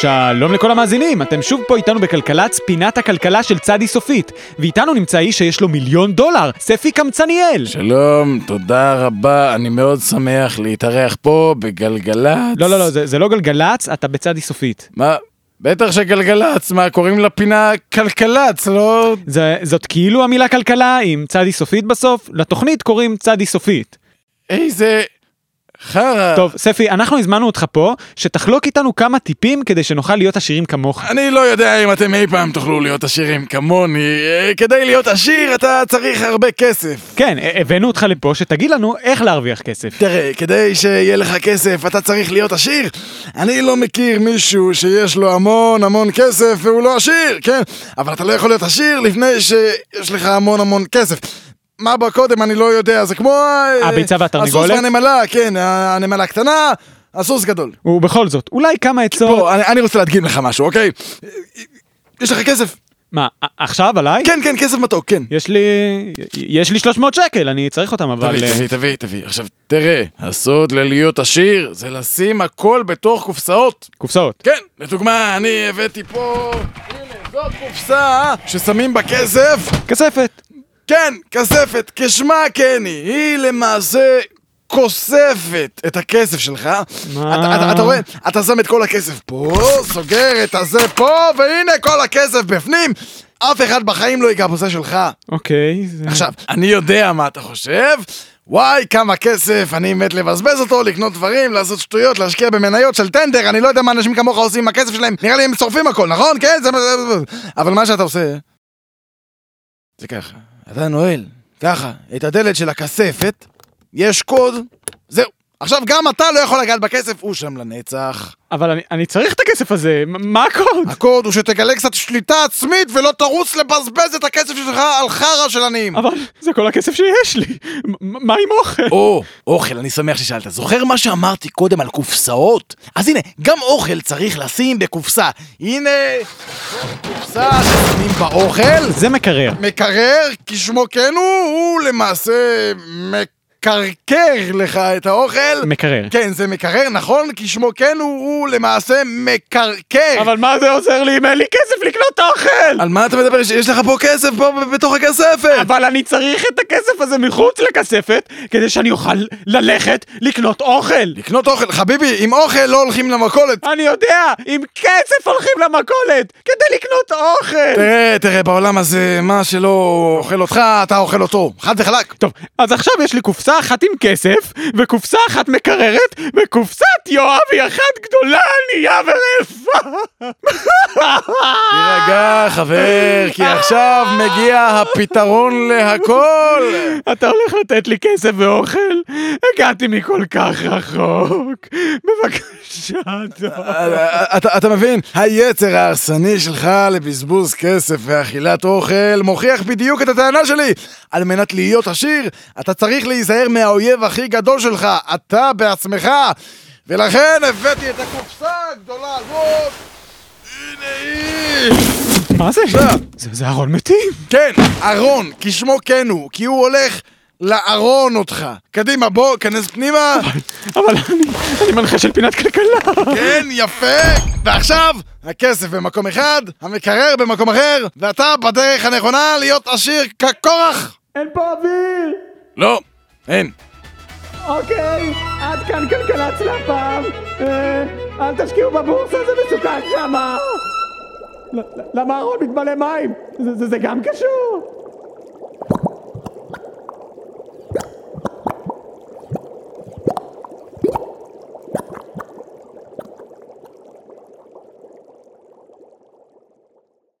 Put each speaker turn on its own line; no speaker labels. שלום לכל המאזינים, אתם שוב פה איתנו בכלכלצ, פינת הכלכלה של צדי סופית. ואיתנו נמצא איש שיש לו מיליון דולר, ספי קמצניאל.
שלום, תודה רבה, אני מאוד שמח להתארח פה בגלגלצ.
לא, לא, לא, זה, זה לא גלגלצ, אתה בצדי סופית.
מה? בטח שגלגלצ, מה קוראים לפינה כלכלצ, לא...
זה, זאת כאילו המילה כלכלה עם צדי סופית בסוף, לתוכנית קוראים צדי סופית.
איזה חרא.
טוב, ספי, אנחנו הזמנו אותך פה, שתחלוק איתנו כמה טיפים כדי שנוכל להיות עשירים כמוך.
אני לא יודע אם אתם אי פעם תוכלו להיות עשירים כמוני, אה, כדי להיות עשיר אתה צריך הרבה כסף.
כן, ה- הבאנו אותך לפה שתגיד לנו איך להרוויח כסף.
תראה, כדי שיהיה לך כסף אתה צריך להיות עשיר. אני לא מכיר מישהו שיש לו המון המון כסף והוא לא עשיר, כן? אבל אתה לא יכול להיות עשיר לפני שיש לך המון המון כסף. מה בא קודם אני לא יודע, זה כמו... אה,
הביצה והתרנגולת?
הסוס והנמלה, כן, הנמלה קטנה, הסוס גדול.
ובכל זאת, אולי כמה עצות...
בוא, אני- אני רוצה להדגים לך משהו, אוקיי? יש לך כסף?
מה, ע- עכשיו עליי?
כן, כן, כסף מתוק, כן.
יש לי... יש לי 300 שקל, אני צריך אותם, אבל...
תביא,
אה,
תביא, תביא, תביא. עכשיו, תראה, הסוד ללהיות עשיר זה לשים הכל בתוך קופסאות.
קופסאות.
כן, לדוגמה, אני הבאתי פה... הנה, זאת קופסה ששמים בה כסף.
כספת.
כן, כספת, כשמה כן היא. היא למעשה... כוספת את הכסף שלך,
מה?
אתה, אתה, אתה רואה, אתה שם את כל הכסף פה, סוגר את הזה פה, והנה כל הכסף בפנים, אף אחד בחיים לא ייגע בזה שלך.
אוקיי, זה...
עכשיו, אני יודע מה אתה חושב. וואי, כמה כסף, אני מת לבזבז אותו, לקנות דברים, לעשות שטויות, להשקיע במניות של טנדר, אני לא יודע מה אנשים כמוך עושים עם הכסף שלהם, נראה לי הם שורפים הכל, נכון? כן, זה... אבל מה שאתה עושה... זה ככה, אתה נועל, ככה, את הדלת של הכספת, יש קוד, זהו. עכשיו, גם אתה לא יכול לגעת בכסף, הוא שם לנצח.
אבל אני- אני צריך את הכסף הזה, מ- מה הקוד?
הקוד הוא שתגלה קצת שליטה עצמית ולא תרוץ לבזבז את הכסף שלך על חרא של עניים.
אבל זה כל הכסף שיש לי. מ- מה עם אוכל?
או, אוכל, אני שמח ששאלת. זוכר מה שאמרתי קודם על קופסאות? אז הנה, גם אוכל צריך לשים בקופסה. הנה, קופסה ששמים בה אוכל.
זה מקרר.
מקרר, כשמו כן הוא, הוא למעשה מקרקר לך את האוכל.
מקרר.
כן, זה מקרר, נכון? כשמו כן הוא, הוא למעשה מקרקר.
אבל מה זה עוזר לי אם אין לי כסף לקנות אוכל?
על מה אתה מדבר? יש לך פה כסף פה בתוך הכספת.
אבל אני צריך את הכסף הזה מחוץ לכספת, כדי שאני אוכל ללכת לקנות אוכל.
לקנות אוכל, חביבי, עם אוכל לא הולכים למכולת.
אני יודע, עם כסף הולכים למכולת, כדי לקנות אוכל.
תראה, אה, תראה, בעולם הזה, מה שלא אוכל אותך, אתה אוכל אותו. חד וחלק.
טוב, אז עכשיו יש לי קופסה אחת עם כסף, וקופסה אחת מקררת, וקופסת יואב היא אחת גדולה, ענייה ורעבה.
תירגע, חבר, כי עכשיו מגיע הפתרון להכל.
אתה הולך לתת לי כסף ואוכל? הגעתי מכל כך רחוק. בבקשה, אדון.
אתה, אתה מבין? היצר ההרסני שלך לבזבוז כסף ואכילת אוכל מוכיח בדיוק את הטענה שלי. על מנת להיות עשיר, אתה צריך להיזהר מהאויב הכי גדול שלך, אתה בעצמך. ולכן הבאתי את הקופסה הגדולה הזאת. הנה היא.
מה זה? זה- זה ארון מתים.
כן, ארון, כשמו כן הוא, כי הוא הולך לארון אותך. קדימה, בוא, כנס פנימה.
אבל אני אני מנחה של פינת כלכלה.
כן, יפה. ועכשיו, הכסף במקום אחד, המקרר במקום אחר, ואתה בדרך הנכונה להיות עשיר כקורח.
אין פה אוויר!
לא, אין.
אוקיי, עד כאן כלכלת של הפעם. אה, אל תשקיעו בבורסה, זה מסוכן שמה. ל- ל- למה ארון מתמלא מים? זה- זה זה גם קשור.